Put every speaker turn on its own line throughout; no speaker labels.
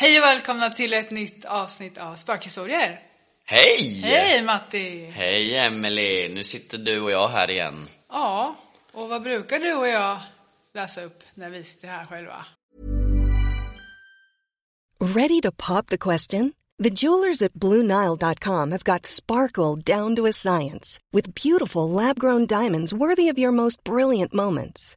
Hej och välkomna till ett nytt avsnitt av Spökhistorier.
Hej!
Hej Matti!
Hej Emily. Nu sitter du och jag här igen.
Ja, och vad brukar du och jag läsa upp när vi sitter här själva?
Ready to pop the question? The jewelers at BlueNile.com have got sparkle down to a science with beautiful lab grown diamonds worthy of your most brilliant moments.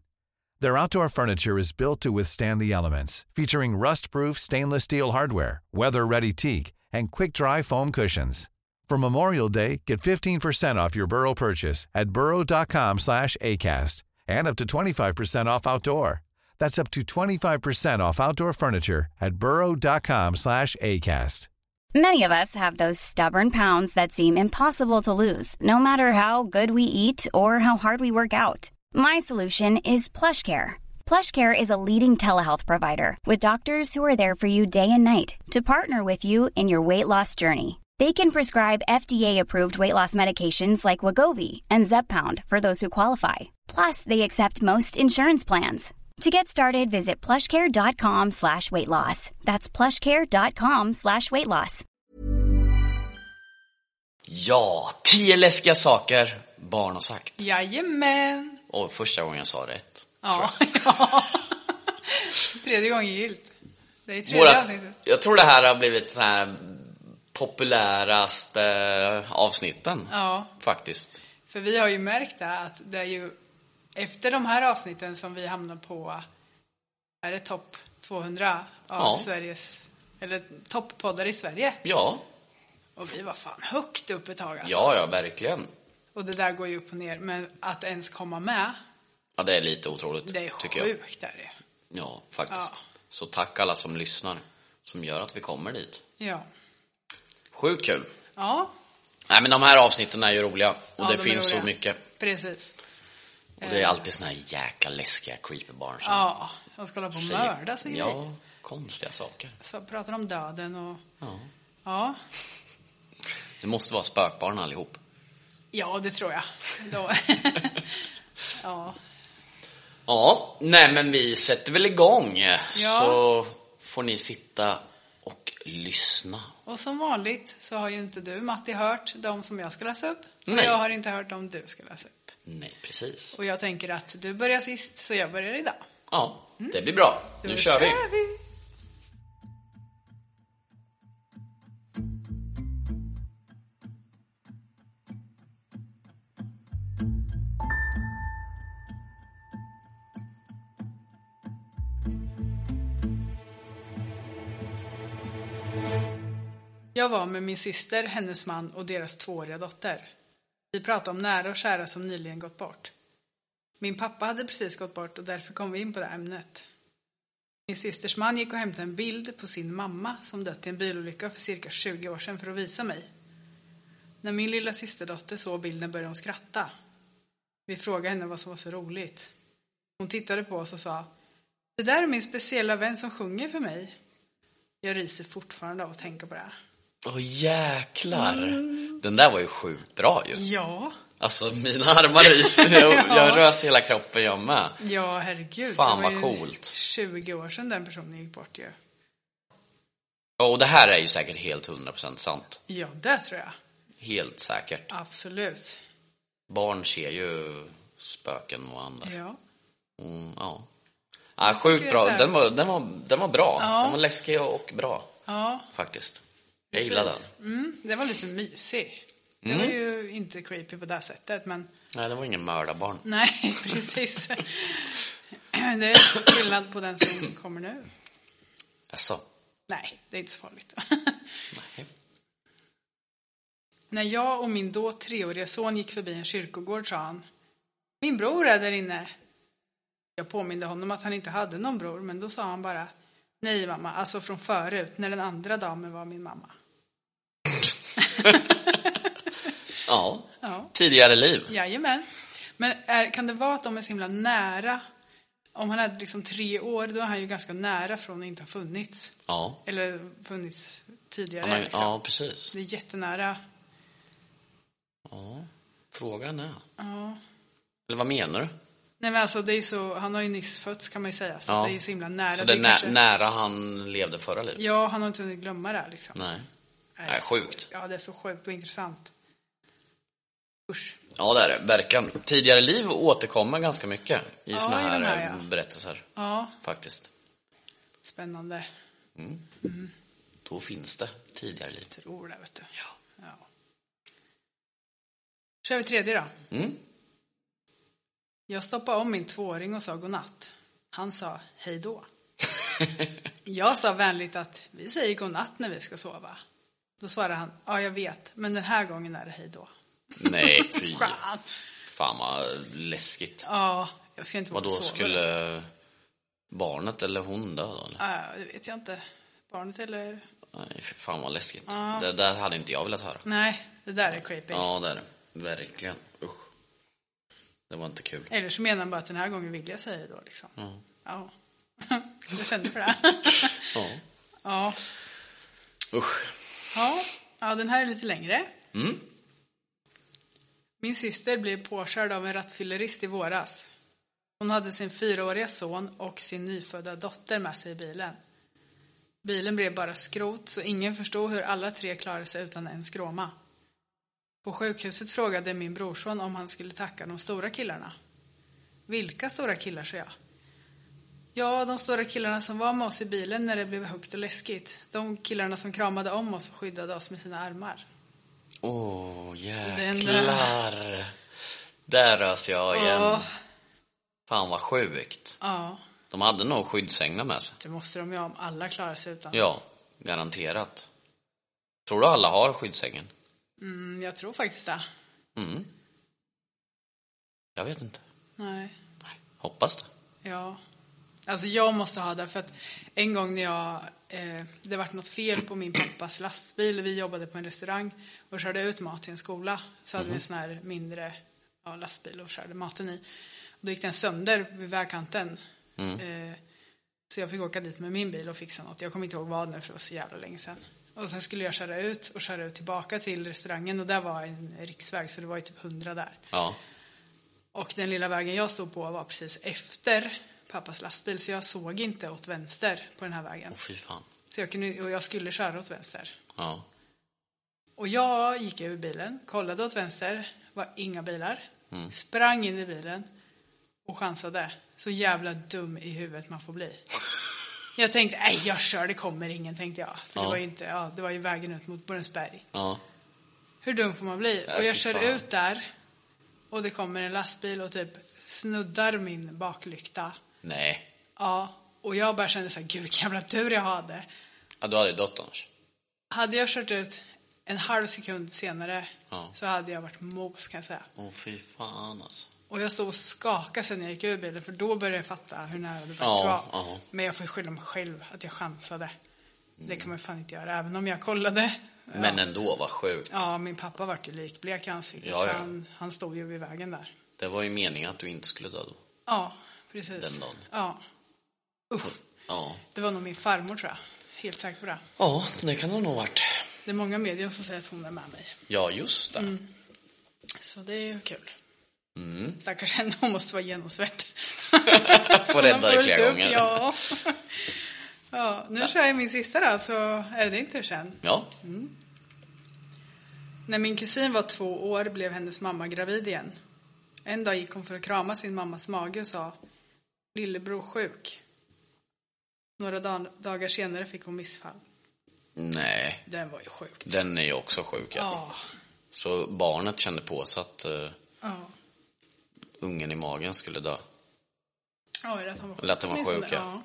Their outdoor furniture is built to withstand the elements, featuring rust-proof stainless steel hardware, weather-ready teak, and quick-dry foam cushions. For Memorial Day, get 15% off your Burrow purchase at burrow.com/acast and up to 25% off outdoor. That's up to 25% off outdoor furniture at burrow.com/acast.
Many of us have those stubborn pounds that seem impossible to lose, no matter how good we eat or how hard we work out. My solution is PlushCare. PlushCare is a leading telehealth provider with doctors who are there for you day and night to partner with you in your weight loss journey. They can prescribe FDA-approved weight loss medications like Wagovi and Zepbound for those who qualify. Plus, they accept most insurance plans. To get started, visit plushcare.com slash weight loss. That's plushcare.com slash weight loss.
Ja, tio läskiga saker barn har sagt.
Jajamän!
Och första gången jag sa rätt.
Ja, ja. Tredje gången gillt. Det är tredje
Vårat,
avsnittet.
jag tror det här har blivit så här populäraste avsnitten.
Ja.
Faktiskt.
För vi har ju märkt det här att det är ju efter de här avsnitten som vi hamnar på, är det topp 200 av
Ja.
Sveriges, eller topppoddar i Sverige?
Ja,
Och vi var fan högt upp ett tag alltså.
ja, ja, verkligen.
Och det där går ju upp och ner, men att ens komma med,
Ja, det är lite otroligt,
det är
tycker jag.
sjukt är det.
Ja, faktiskt.
Ja.
Så tack alla som lyssnar, som gör att vi kommer dit.
Ja.
Sjukt kul.
Ja,
Nej, men de här avsnitten är ju roliga och
Ja,
det
de är
finns så
roliga.
mycket.
precis.
Och det är alltid såna här jäkla läskiga creepy-barn som
Ja, de ska hålla på och
säger-
mörda sig ja.
Ja, konstiga saker.
Så pratar om döden och
Ja.
ja,
Det måste vara spökbarn allihop.
ja det tror jag. Då. ja,
Ja, nej men vi sätter väl igång.
Ja.
Så får ni sitta och lyssna.
och som vanligt så har ju inte du Matti hört de som jag ska läsa upp. Och
Nej.
jag har inte hört de du ska läsa upp.
Nej, precis.
Och jag tänker att du börjar sist så jag börjar idag.
Ja, det blir bra.
Då
nu kör vi.
vi! Jag var med min syster, hennes man och deras tvååriga dotter. Vi pratade om nära och kära som nyligen gått bort. Min pappa hade precis gått bort och därför kom vi in på det här ämnet. Min systers man gick och hämtade en bild på sin mamma som dött i en bilolycka för cirka 20 år sedan för att visa mig. När min lilla systerdotter såg bilden började hon skratta. Vi frågade henne vad som var så roligt. Hon tittade på oss och sa Det där är min speciella vän som sjunger för mig. Jag ryser fortfarande av att tänka på det. här.
Åh jäklar.
Mm.
Den där var ju sjukt bra ju.
Ja,
Alltså mina armar ryser. Jag, jag rös hela kroppen jag med.
ja herregud.
Fan,
det var
vad
ju
coolt.
20 år sedan den personen gick bort ju.
Ja, och det här är ju säkert helt 100% sant.
Ja, det tror jag.
Helt säkert.
Absolut.
Barn ser ju spöken och andra.
Ja.
Mm, ja. Ja,
tycker
sjukt
jag
bra.
så här-
Den var, den, var, den var bra.
Ja.
Den var läskig och bra
ja.
faktiskt. Jag gillar den.
Mm, det var lite mysig. Det var ju inte creepy på det här sättet, men
Nej, det var ingen mördarbarn.
nej, precis. det är skillnad på den som kommer nu.
Alltså,
Nej, det är inte så farligt.
nej.
När jag och min då treåriga son gick förbi en kyrkogård sa han Min bror är där inne. Jag påminde honom att han inte hade någon bror, men då sa han bara Nej mamma, alltså från förut, när den andra damen var min mamma.
Ja.
Ja.
Tidigare liv.
Jajamän. Men är, kan det vara att de är så himla nära? Om han är liksom tre år, då är han ju ganska nära från att inte ha funnits.
Ja.
Eller funnits tidigare.
Han har, ju-
liksom.
ja, precis.
Det är jättenära.
Ja. Frågan är.
Ja.
Eller vad menar du?
Nej men alltså det är så, han har ju nyss fötts kan man ju säga. Så
Ja.
det är så himla nära.
Så det är nä-
kanske-
nära han levde förra livet?
Ja, han har inte hunnit glömma det här, liksom.
Nej.
Nej,
Nej,
så-
sjukt.
Ja, det är så sjukt och intressant. Usch.
Ja, det är det. Verkligen. Tidigare liv återkommer ganska mycket i
Ja,
såna
i
här,
de här,
eh,
ja.
berättelser,
Ja,
faktiskt.
spännande.
Då finns det tidigare liv.
Tror det, vet du.
Ja.
Ja. Kör vi tredje då.
Mm.
Jag stoppade om min tvååring och sa godnatt. Han sa hej då. jag sa vänligt att vi säger godnatt när vi ska sova. Då svarade han, ja jag vet, men den här gången är det hej då.
Nej, fy.
Fan.
Fan vad läskigt.
Ja, jag ska inte våga
Vad då
sova.
skulle barnet eller hon dö då? eller?
Ja, det vet jag inte. Barnet eller?
Nej, fy fan vad läskigt. Det där hade inte jag velat höra.
Nej, det där är creepy.
Ja, det är det. Verkligen. Usch. Det var inte kul.
Eller så menar han bara att den här gången vill jag säga hej då liksom.
Ja.
Ja. jag kände för det.
Ja.
ja.
Usch.
Ja. ja, den här är lite längre.
Mm.
Min syster blev påkörd av en rattfyllerist i våras. Hon hade sin fyraåriga son och sin nyfödda dotter med sig i bilen. Bilen blev bara skrot så ingen förstod hur alla tre klarade sig utan en skråma. På sjukhuset frågade min brorson om han skulle tacka de stora killarna. Vilka stora killar, sa jag. Ja, de stora killarna som var med oss i bilen när det blev högt och läskigt. De killarna som kramade om oss och skyddade oss med sina armar.
Åh,
där.
jäklar. Där rös jag igen.
Åh.
Fan vad sjukt.
Ja,
De hade nog skyddsänglar med sig.
det måste de ju ha om alla klarar sig utan.
Ja, garanterat. Tror du alla har skyddsängen?
Mm, jag tror faktiskt det.
Mm. Jag vet inte.
Nej.
Hoppas det.
Ja. Alltså jag måste ha det för att en gång när jag, eh, det vart något fel på min pappas lastbil, vi jobbade på en restaurang och körde ut mat till en skola. Så hade vi en sån här mindre ja, lastbil och körde maten i. Och då gick den sönder vid vägkanten. Eh, så jag fick åka dit med min bil och fixa något. Jag kommer inte ihåg vad nu för det var så jävla länge sedan. Och sen skulle jag köra ut och köra ut tillbaka till restaurangen och där var en riksväg så det var ju typ hundra där.
Ja.
Och den lilla vägen jag stod på var precis efter pappas lastbil så jag såg inte åt vänster på den här vägen.
Åh fy fan.
Så jag, kunde, och jag skulle köra åt vänster.
Ja.
Och jag gick ur bilen, kollade åt vänster, var inga bilar,
Mm.
sprang in i bilen och chansade. Så jävla dum i huvudet man får bli. Jag tänkte, nej jag kör, det kommer ingen, tänkte jag. För det,
Ja.
var ju inte, ja, det var ju vägen ut mot Borensberg.
Ja.
Hur dum får man bli?
Ja,
och jag
fy
kör
fan.
ut där och det kommer en lastbil och typ snuddar min baklykta.
Nej.
Ja, och jag bara kände så här, gud vilken jävla tur jag hade.
Ja, du hade ju dött annars.
Hade jag kört ut en halv sekund senare
Ja.
så hade jag varit mos kan jag säga.
Åh fy fan alltså.
Och jag stod och skakade sen när jag gick ur bilen för då började jag fatta hur nära det faktiskt
Ja,
var.
ja. Mm.
Men jag får ju skylla mig själv att jag chansade. Det kan man fan inte göra, även om jag kollade.
Men ändå, vad sjukt.
Ja, min pappa vart ju likblek i ansiktet.
Ja, ja.
så Han, han stod ju vid vägen där.
Det var ju meningen att du inte skulle dö då.
Ja, precis.
Den dagen.
Ja. Usch,
Ja.
det var nog min farmor tror jag. Helt säker på det.
Ja, det kan det nog ha varit.
Det är många medier som säger att hon är med mig.
Ja, just det.
Mm. Så det är ju kul. Stackars henne, hon måste vara genomsvett.
Mm. Får
Hon har
rädda dig
fullt
flera
upp,
gånger.
Ja. ja, nu kör jag min sista då, så är det din tur sen.
Ja.
När min kusin var två år blev hennes mamma gravid igen. En dag gick hon för att krama sin mammas mage och sa Lillebror sjuk. Några dag- dagar senare fick hon missfall.
Nej,
Den var ju sjukt.
den är ju också sjuk. Ja.
Ja.
Så barnet kände på sig att eh,
Ja.
ungen i magen skulle dö.
Ja, eller att han var sjuk.
Eller att han var
åtminstone.
sjuk, ja.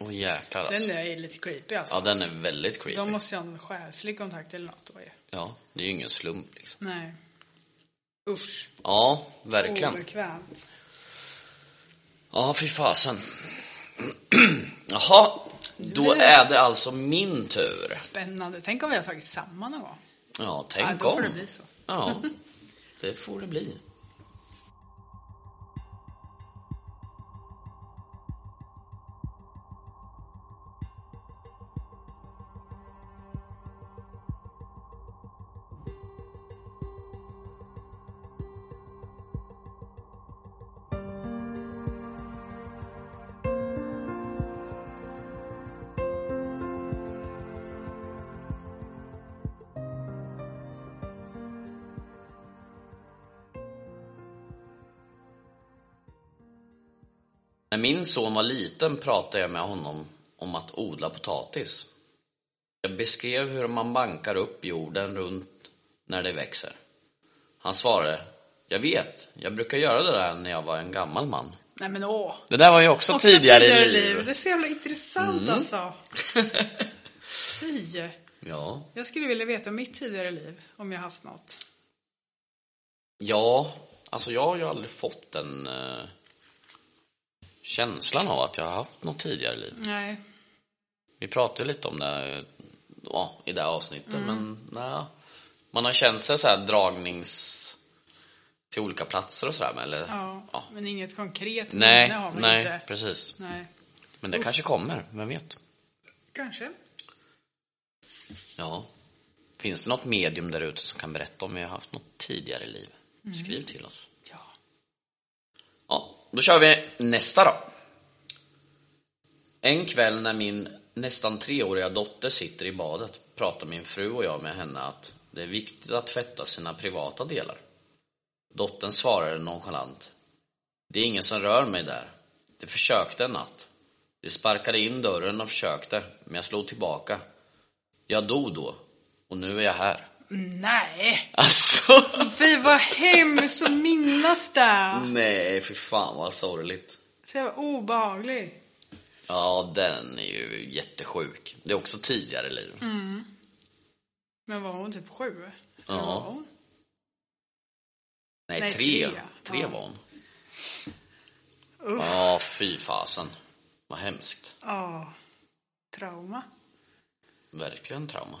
Åh jäklar alltså.
Den är lite creepy alltså.
Ja, den är väldigt creepy.
De måste ju ha en själslig kontakt eller något då ju.
Ja, det är ju ingen slump liksom.
Nej. Usch.
Ja, verkligen.
Oh Obekvämt.
Ja, fy fasen. Jaha, då är det alltså min tur.
Spännande. Tänk om vi har tagit samma någon gång.
Ja,
Ja,
tänk
då
om.
får det bli så.
Ja, det får det bli. När min son var liten pratade jag med honom om att odla potatis. Jag beskrev hur man bankar upp jorden runt när det växer. Han svarade, jag vet, jag brukar göra det där när jag var en gammal man.
Nej men åh.
Det där var ju också,
Också
tidigare, i Mm. liv.
Det är så jävla intressant alltså. Fy.
Ja.
Jag skulle vilja veta mitt tidigare liv, om jag haft något.
ja, alltså jag har ju aldrig fått den eh, känslan av att jag har haft något tidigare i liv.
Nej.
Vi pratade ju lite om det ja, i det här avsnittet,
Mm.
men nej. Man har känt sig så här dragnings till olika platser och sådär, men eller?
Ja, Men inget konkret
Nej,
minne har man
nej,
inte.
precis.
Nej.
Men det kanske kommer, vem vet?
Kanske.
Ja. Finns det något medium där ute som kan berätta om vi har haft något tidigare i liv?
Mm.
Skriv till oss.
Ja.
Ja, då kör vi nästa då. En kväll när min nästan treåriga dotter sitter i badet pratar min fru och jag med henne att det är viktigt att tvätta sina privata delar. Dottern svarade nonchalant. Det är ingen som rör mig där. Det försökte en natt. Det sparkade in dörren och försökte, men jag slog tillbaka. Jag dog då, och nu är jag här.
Nej!
Alltså!
Fy vad hemskt att minnas det!
Nej, för fan vad sorgligt.
Så jävla obehaglig.
Ja, den är ju jättesjuk. Det är också tidigare liv.
Mm. Men var hon typ sju?
Ja.
Eller var hon?
Nej,
Nej,
tre.
tre.
Tre
Ja.
var hon.
Uff.
Ja, fy fasen. Vad hemskt.
Ja. Trauma.
Verkligen trauma.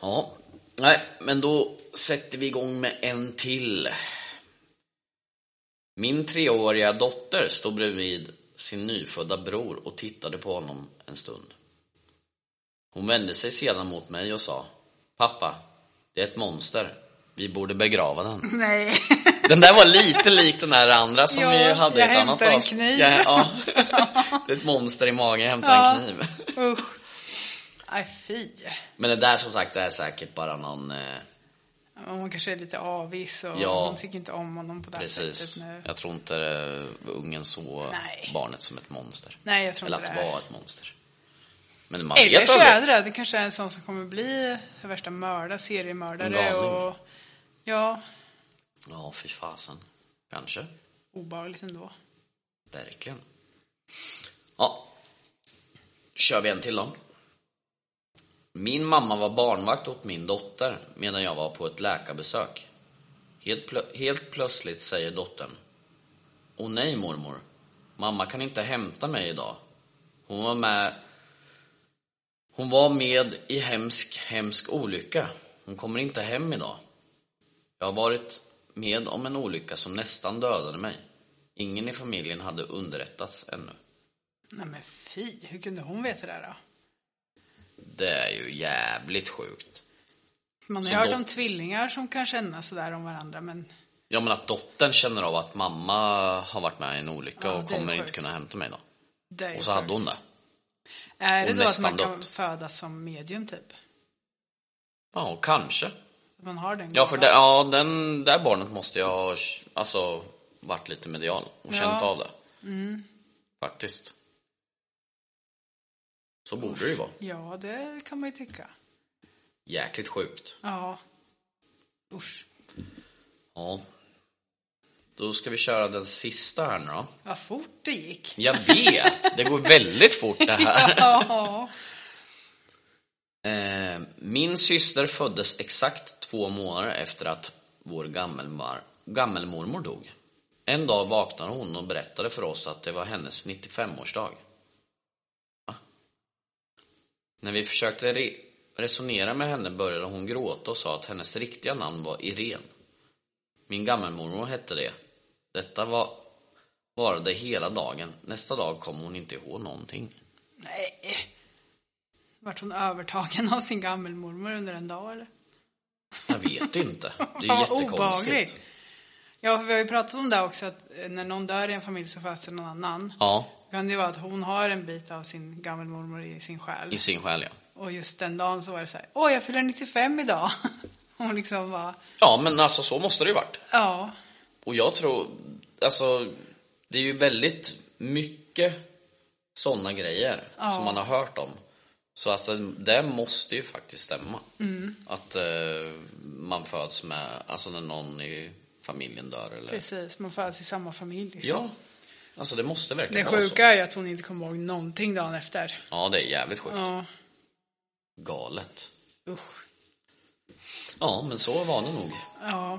Ja. Nej, men då sätter vi igång med en till. Min treåriga dotter stod bredvid sin nyfödda bror och tittade på honom en stund. Hon vände sig sedan mot mig och sa Pappa, det är ett monster. Vi borde begrava den.
Nej.
Den där var lite lik den där andra som
Ja,
vi hade i
jag
ett annat
hämtar en
avsnitt.
kniv.
Jag, ja. Det är ett monster i magen, jag hämtar
Ja.
en kniv.
Usch. Nej, fy.
Men det där som sagt, det är säkert bara någon... Eh,
Hon kanske är lite avis och
Ja.
hon tycker inte om honom på det här
precis.
sättet nu.
Jag tror inte eh, ungen såg
Nej.
barnet som ett monster.
Nej, jag tror
Eller
inte
att
det.
det var ett monster. Men man
Eller
vet
så är
aldrig.
det det. Det kanske är en sån som kommer bli den värsta mördare,
En
seriemördare
galning.
och... Ja,
Ja, fy fasen. Kanske.
obehagligt ändå.
Verkligen. Ja. Kör vi en till då. Min mamma var barnvakt åt min dotter medan jag var på ett läkarbesök. Helt, plö- helt plötsligt säger dottern. Åh nej mormor. Mamma kan inte hämta mig idag. Hon var med hon var med i hemsk, hemsk olycka. Hon kommer inte hem idag. Jag har varit med om en olycka som nästan dödade mig. Ingen i familjen hade underrättats ännu.
Nej men fy, hur kunde hon veta det här då?
Det är ju jävligt sjukt.
Man har
Som
hört
då-
om tvillingar som kan känna sådär om varandra men
Ja men att dottern känner av att mamma har varit med i en olycka
Ja,
och
det är
kommer inte
sjukt.
kunna hämta mig då.
det är ju
Och så hade
sjukt.
hon det.
Är det
hon
då att
nästan
man kan
dött.
födas som medium typ?
Ja, och kanske.
Att man har den
Ja, för det,
gåvan?
ja, den där barnet måste jag ha alltså, varit lite medial och känt
Ja. Mm.
av det. Faktiskt. Så borde det ju vara.
Ja, det kan man ju tycka.
Jäkligt sjukt.
Ja. Usch.
Ja. Då ska vi köra den sista här nu då.
Vad fort det gick.
Jag vet, det går väldigt fort det här.
Ja.
Eh, min syster föddes exakt två månader efter att vår gammelmar, gammelmormor dog. En dag vaknade hon och berättade för oss att det var hennes 95-årsdag. Va? När vi försökte re- resonera med henne började hon gråta och sa att hennes riktiga namn var Irene. Min gammelmormor hette det. Detta var, varade hela dagen. Nästa dag kom hon inte ihåg någonting.
Nej. Vart hon övertagen av sin gammelmormor under en dag eller?
Jag vet inte. Det är
Fan, vad
jättekonstigt.
obehagligt. Ja, för vi har ju pratat om det också att eh, när någon dör i en familj så föds någon annan.
Ja,
Då kan det vara att hon har en bit av sin gammelmormor i sin själ.
i sin själ ja.
Och just den dagen så var det så här, åh jag fyller 95 idag. Hon liksom var,
Ja men alltså så måste det ju varit.
ja,
Och jag tror, alltså det är ju väldigt mycket sådana grejer som man har hört om. Så alltså det måste ju faktiskt stämma.
Mm.
Att eh, man föds med, alltså när någon i familjen dör eller...
precis, man föds i samma familj. Liksom.
Ja, alltså det måste
Det
verkligen vara
sjuka är ju att hon inte kommer ihåg någonting dagen efter.
så. Ja det är jävligt sjukt.
Ja,
Galet.
usch.
Ja men så var det nog.
Ja.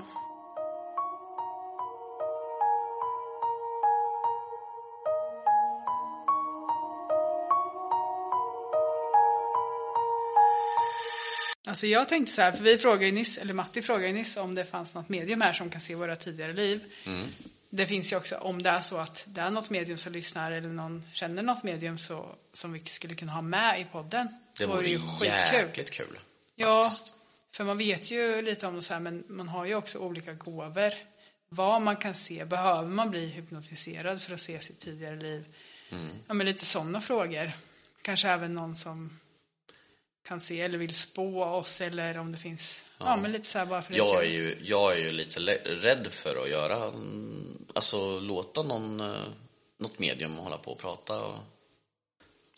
Alltså jag tänkte så här, för vi frågade ju nyss, eller Matti frågade ju nyss om det fanns något medium här som kan se våra tidigare liv.
Mm.
Det finns ju också, om det är så att det är något medium som lyssnar eller någon känner något medium så, som vi skulle kunna ha med i podden.
Det vore ju jäkligt kul.
Ja,
faktiskt.
för man vet ju lite om det så här, men man har ju också olika gåvor. Vad man kan se, behöver man bli hypnotiserad för att se sitt tidigare liv?
Mm.
Ja, men lite sådana frågor. Kanske även någon som kan se eller vill spå oss eller om det finns, ja, men lite så här bara för
Jag är
kul.
ju, jag är ju lite le- rädd för att göra, mm, alltså låta någon, eh, något medium hålla på och prata och,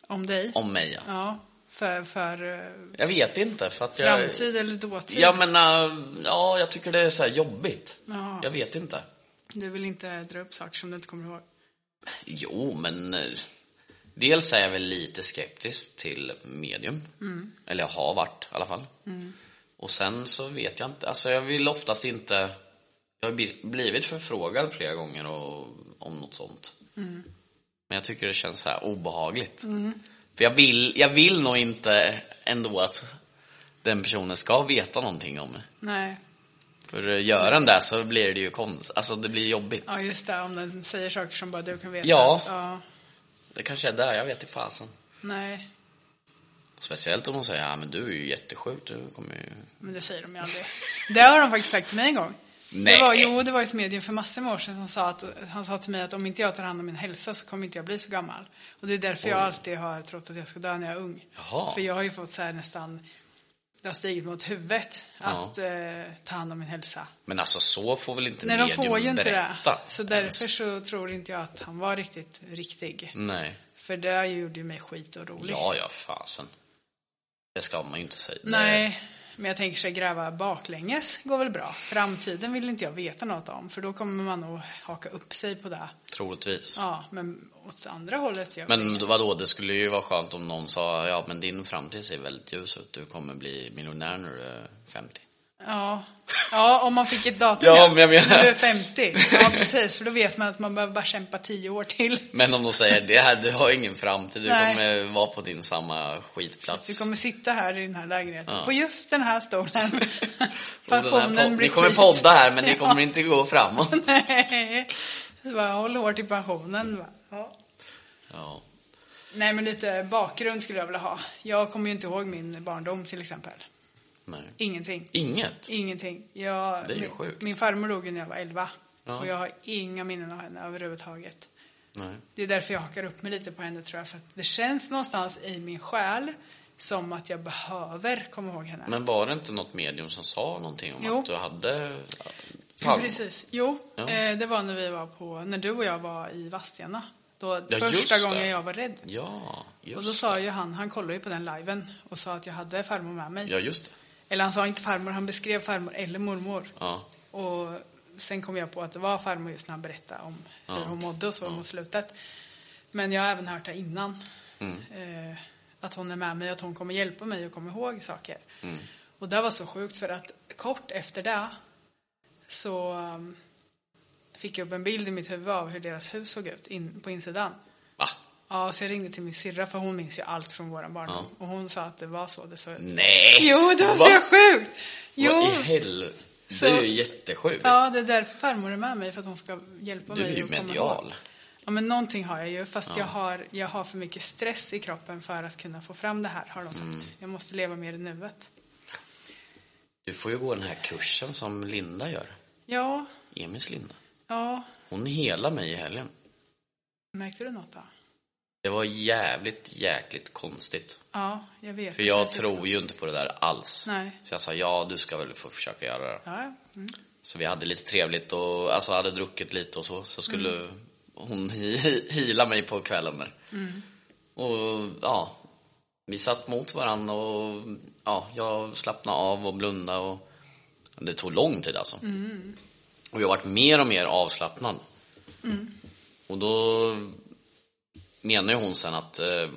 Om dig?
om mig. Ja.
Ja, för, för eh,
Jag vet inte för att jag...
framtid eller dåtid?
Jag menar, ja jag tycker det är så här jobbigt.
Ja.
Jag vet inte.
Du vill inte dra upp saker som du inte kommer ihåg?
Jo men, eh, dels är jag väl lite skeptisk till medium. Eller jag har varit i alla fall. Och sen så vet jag inte, alltså jag vill oftast inte, jag har bli- blivit förfrågad flera gånger och, om något sånt. Men jag tycker det känns så här obehagligt. För jag vill, jag vill nog inte ändå att den personen ska veta någonting om mig.
Nej.
För eh, gör den det så blir det ju konstigt, alltså det blir jobbigt.
Ja, just det, om den säger saker som bara du kan veta.
Ja.
ja
Det kanske är där, jag vet i fasen.
nej.
Speciellt om de säger, ja men du är ju jättesjuk, du kommer ju...
Men det säger de ju aldrig. Det har de faktiskt sagt till mig en gång.
Nej.
Det var, jo, det var ett medium för massor med år sedan som sa att, han sa till mig att om inte jag tar hand om min hälsa så kommer inte jag bli så gammal. Och det är därför jag alltid har trott att jag ska dö när jag är ung.
Jaha.
För jag har ju fått så här nästan, det har stigit mot huvudet att eh, ta hand om min hälsa.
Men alltså så får väl inte
Nej, de
medium
får ju inte
berätta?
det. Så därför
ens.
så tror inte jag att han var riktigt riktig.
Nej.
För det gjorde ju mig skit och rolig.
Ja, ja, fasen. Det ska man ju inte säga.
Nej, men jag tänker sig gräva baklänges går väl bra. Framtiden vill inte jag veta något om, för då kommer man nog haka upp sig på det.
Troligtvis.
Ja, men åt andra hållet. Jag
Men vadå, det skulle ju vara skönt om någon sa, ja men din framtid ser väldigt ljus ut, du kommer bli miljonär när du är 50.
Ja. ja, om man fick ett datum.
Ja, men jag menar-
När du är 50. Ja, precis, för då vet man att man behöver bara kämpa 10 år till.
Men om de säger, det här, du har ingen framtid, du
Nej.
kommer vara på din samma skitplats.
Du kommer sitta här i den här lägenheten,
Ja.
på just den här stolen.
Och den här pod-
Pensionen blir
Ni kommer
skit.
podda här men ni
Ja.
kommer inte gå framåt.
Nej. Så bara, håll hårt i pensionen. va. Ja.
Ja.
Nej, men lite bakgrund skulle jag vilja ha. Jag kommer ju inte ihåg min barndom till exempel.
Nej.
Ingenting.
Inget?
Ingenting. Jag,
Det är ju
min-
sjukt.
Min farmor dog ju när jag var 11.
Ja.
Och jag har inga minnen av henne överhuvudtaget.
Nej.
Det är därför jag hakar upp mig lite på henne tror jag. För att det känns någonstans i min själ som att jag behöver komma ihåg henne.
Men var det inte något medium som sa någonting om
Jo.
att du hade...
Ja,
Fan.
Precis. Jo,
Ja.
eh, det var när vi var på, när du och jag var i Vadstena. Då
Ja,
första
just det.
gången jag var rädd.
Ja, just
Och då
det.
sa ju han, han kollade ju på den liven och sa att jag hade farmor med mig.
Ja, just det.
Eller han sa inte farmor, han beskrev farmor eller mormor.
Ja.
Och sen kom jag på att det var farmor just när han berättade om hur
Ja.
hon mådde och så mot slutet. Men jag har även hört det innan.
Mm.
Eh, att hon är med mig, att hon kommer hjälpa mig och komma ihåg saker.
Mm.
Och det var så sjukt för att kort efter det så um, fick jag upp en bild i mitt huvud av hur deras hus såg ut in, på insidan.
Va?
Ja, så jag ringde till min syrra för hon minns ju allt från våran barndom.
Ja.
Och hon sa att det var så det såg ut.
Nej!
Jo, det var
Va?
så sjukt! Jo.
Vad i helvete?
Så-
Det är ju jättesjukt.
Ja, det är därför farmor är med mig, för att hon ska hjälpa
Du är
mig.
ju
att komma
medial.
ihåg. Ja, men någonting har jag ju, fast jag, har, jag har för mycket stress i kroppen för att kunna få fram det här, har de sagt.
Mm.
Jag måste leva mer i nuet.
Du får ju gå den här kursen som Linda gör.
Ja,
Emils Linda.
ja.
Hon helade mig i helgen.
Märkte du något då?
Det var jävligt, jäkligt konstigt.
Ja, jag vet.
För
Det
jag
känns
tror
jättekonstigt.
ju inte på det där alls.
Nej.
Så jag sa, ja du ska väl få försöka göra det.
Ja, mm.
Så vi hade lite trevligt och alltså hade druckit lite och så. Så skulle
Mm.
hon hi- hila mig på kvällen där.
Mm.
Och ja, vi satt mot varandra och ja, jag slappnade av och blundade och det tog lång tid alltså.
Mm.
Och jag varit mer och mer avslappnad.
Mm.
Och då menar ju hon sen att eh,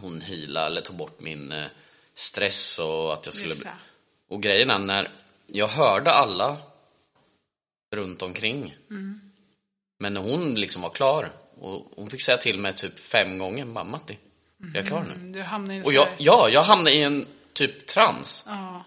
hon hila eller tog bort min eh, stress och att jag skulle
Just
bli...
det.
Och grejen är när jag hörde alla runt omkring. Men när hon liksom var klar och hon fick säga till mig typ fem gånger, mamma Matti, jag är klar nu.
Mm, Du hamnar i en
Och
sån
jag,
här-
ja, jag hamnade i en typ trans.
Ja,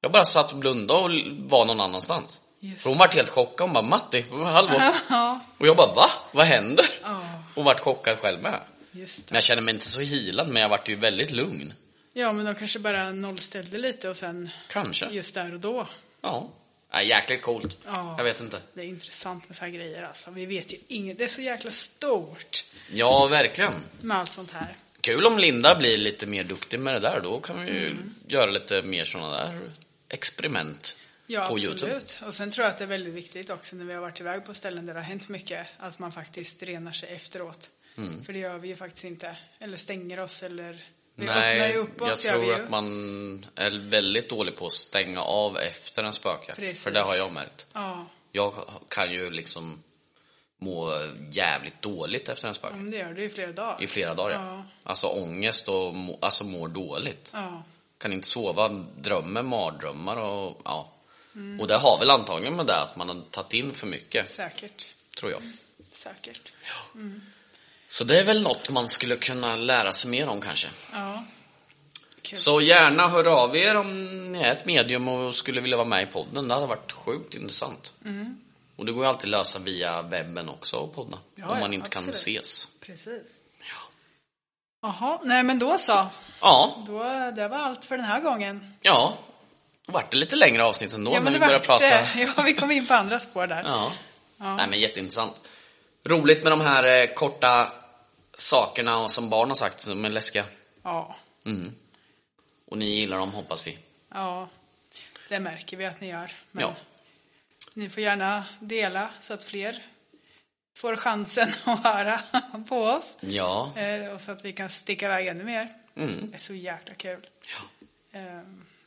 Jag bara satt och blundade och l- var någon annanstans.
Just
För hon vart helt chockad, hon bara Matti, hallå?
ja,
Och jag bara va? Vad händer?
ja,
Och vart chockad själv med.
just
Men
det.
jag kände mig inte så healad, men jag vart ju väldigt lugn.
Ja, men de kanske bara nollställde lite och sen
Kanske.
just där och då.
Ja. ja. Jäkligt coolt.
Ja.
Jag vet inte.
Det är intressant med så här grejer alltså. Vi vet ju inget. Det är så jäkla stort
Ja, verkligen.
med allt sånt här.
Kul om Linda blir lite mer duktig med det där. Då kan vi ju
Mm.
göra lite mer sådana där experiment
Ja,
på
absolut.
Youtube.
Och sen tror jag att det är väldigt viktigt också när vi har varit iväg på ställen där det har hänt mycket, att man faktiskt renar sig efteråt.
Mm.
För det gör vi ju faktiskt inte. Eller stänger oss eller... Vi öppnar
Nej,
ju upp oss,
jag
gör vi
tror
ju.
att man är väldigt dålig på att stänga av efter en spökjakt.
Precis.
För det har jag märkt.
Ja,
Jag kan ju liksom må jävligt dåligt efter en
ja,
spökjakt.
men det gör du i flera dagar.
I flera dagar.
Ja.
Ja. Alltså ångest och må, alltså mår dåligt.
Ja,
Kan inte sova, drömmer mardrömmar och ja.
Mm.
Och det har väl antagligen med det att man har tagit in för mycket,
säkert.
tror jag.
Säkert.
Så det är väl något man skulle kunna lära sig mer om kanske.
Ja. Kul.
Så gärna hör av er om ni är ett medium och skulle vilja vara med i podden. Det hade varit sjukt intressant.
Mm.
Och det går ju alltid att lösa via webben också och podda.
Ja,
om man
ja,
inte kan
absolut.
ses.
Precis.
Ja.
Jaha, nej men då så.
Ja,
Då, det var allt för den här gången.
ja. Då vart det lite längre avsnitt ändå
ja,
när
men
vi
det
började
vart,
prata.
eh, Ja, vi kom in på andra spår där.
Ja. Nej men jätteintressant. Roligt med de här eh, korta sakerna som barn har sagt som är läskiga.
Ja,
Mm. Och ni gillar dem hoppas vi.
ja. Det märker vi att ni gör. Men
Ja.
ni får gärna dela så att fler får chansen att höra på oss.
Ja.
Eh, Och så att vi kan sticka iväg ännu mer.
Mm.
Det är så jäkla kul
ja.
eh, med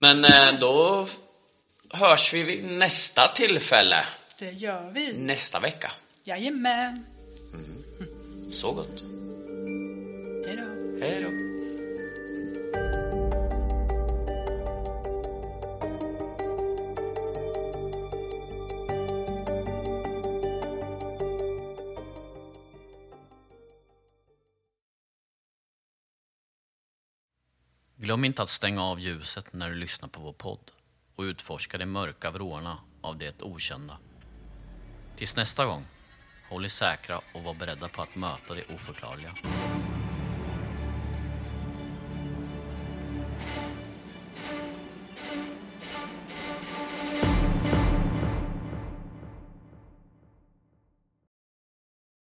Men eh, då hörs vi vid nästa tillfälle.
Det gör vi.
Nästa vecka.
Jajamän.
Så gott.
Hej då.
Hej då. Glöm inte att stänga av ljuset när du lyssnar på vår podd och utforska de mörka vrårna av det okända. Tills nästa gång, håll er säkra och var beredda på att möta det oförklarliga.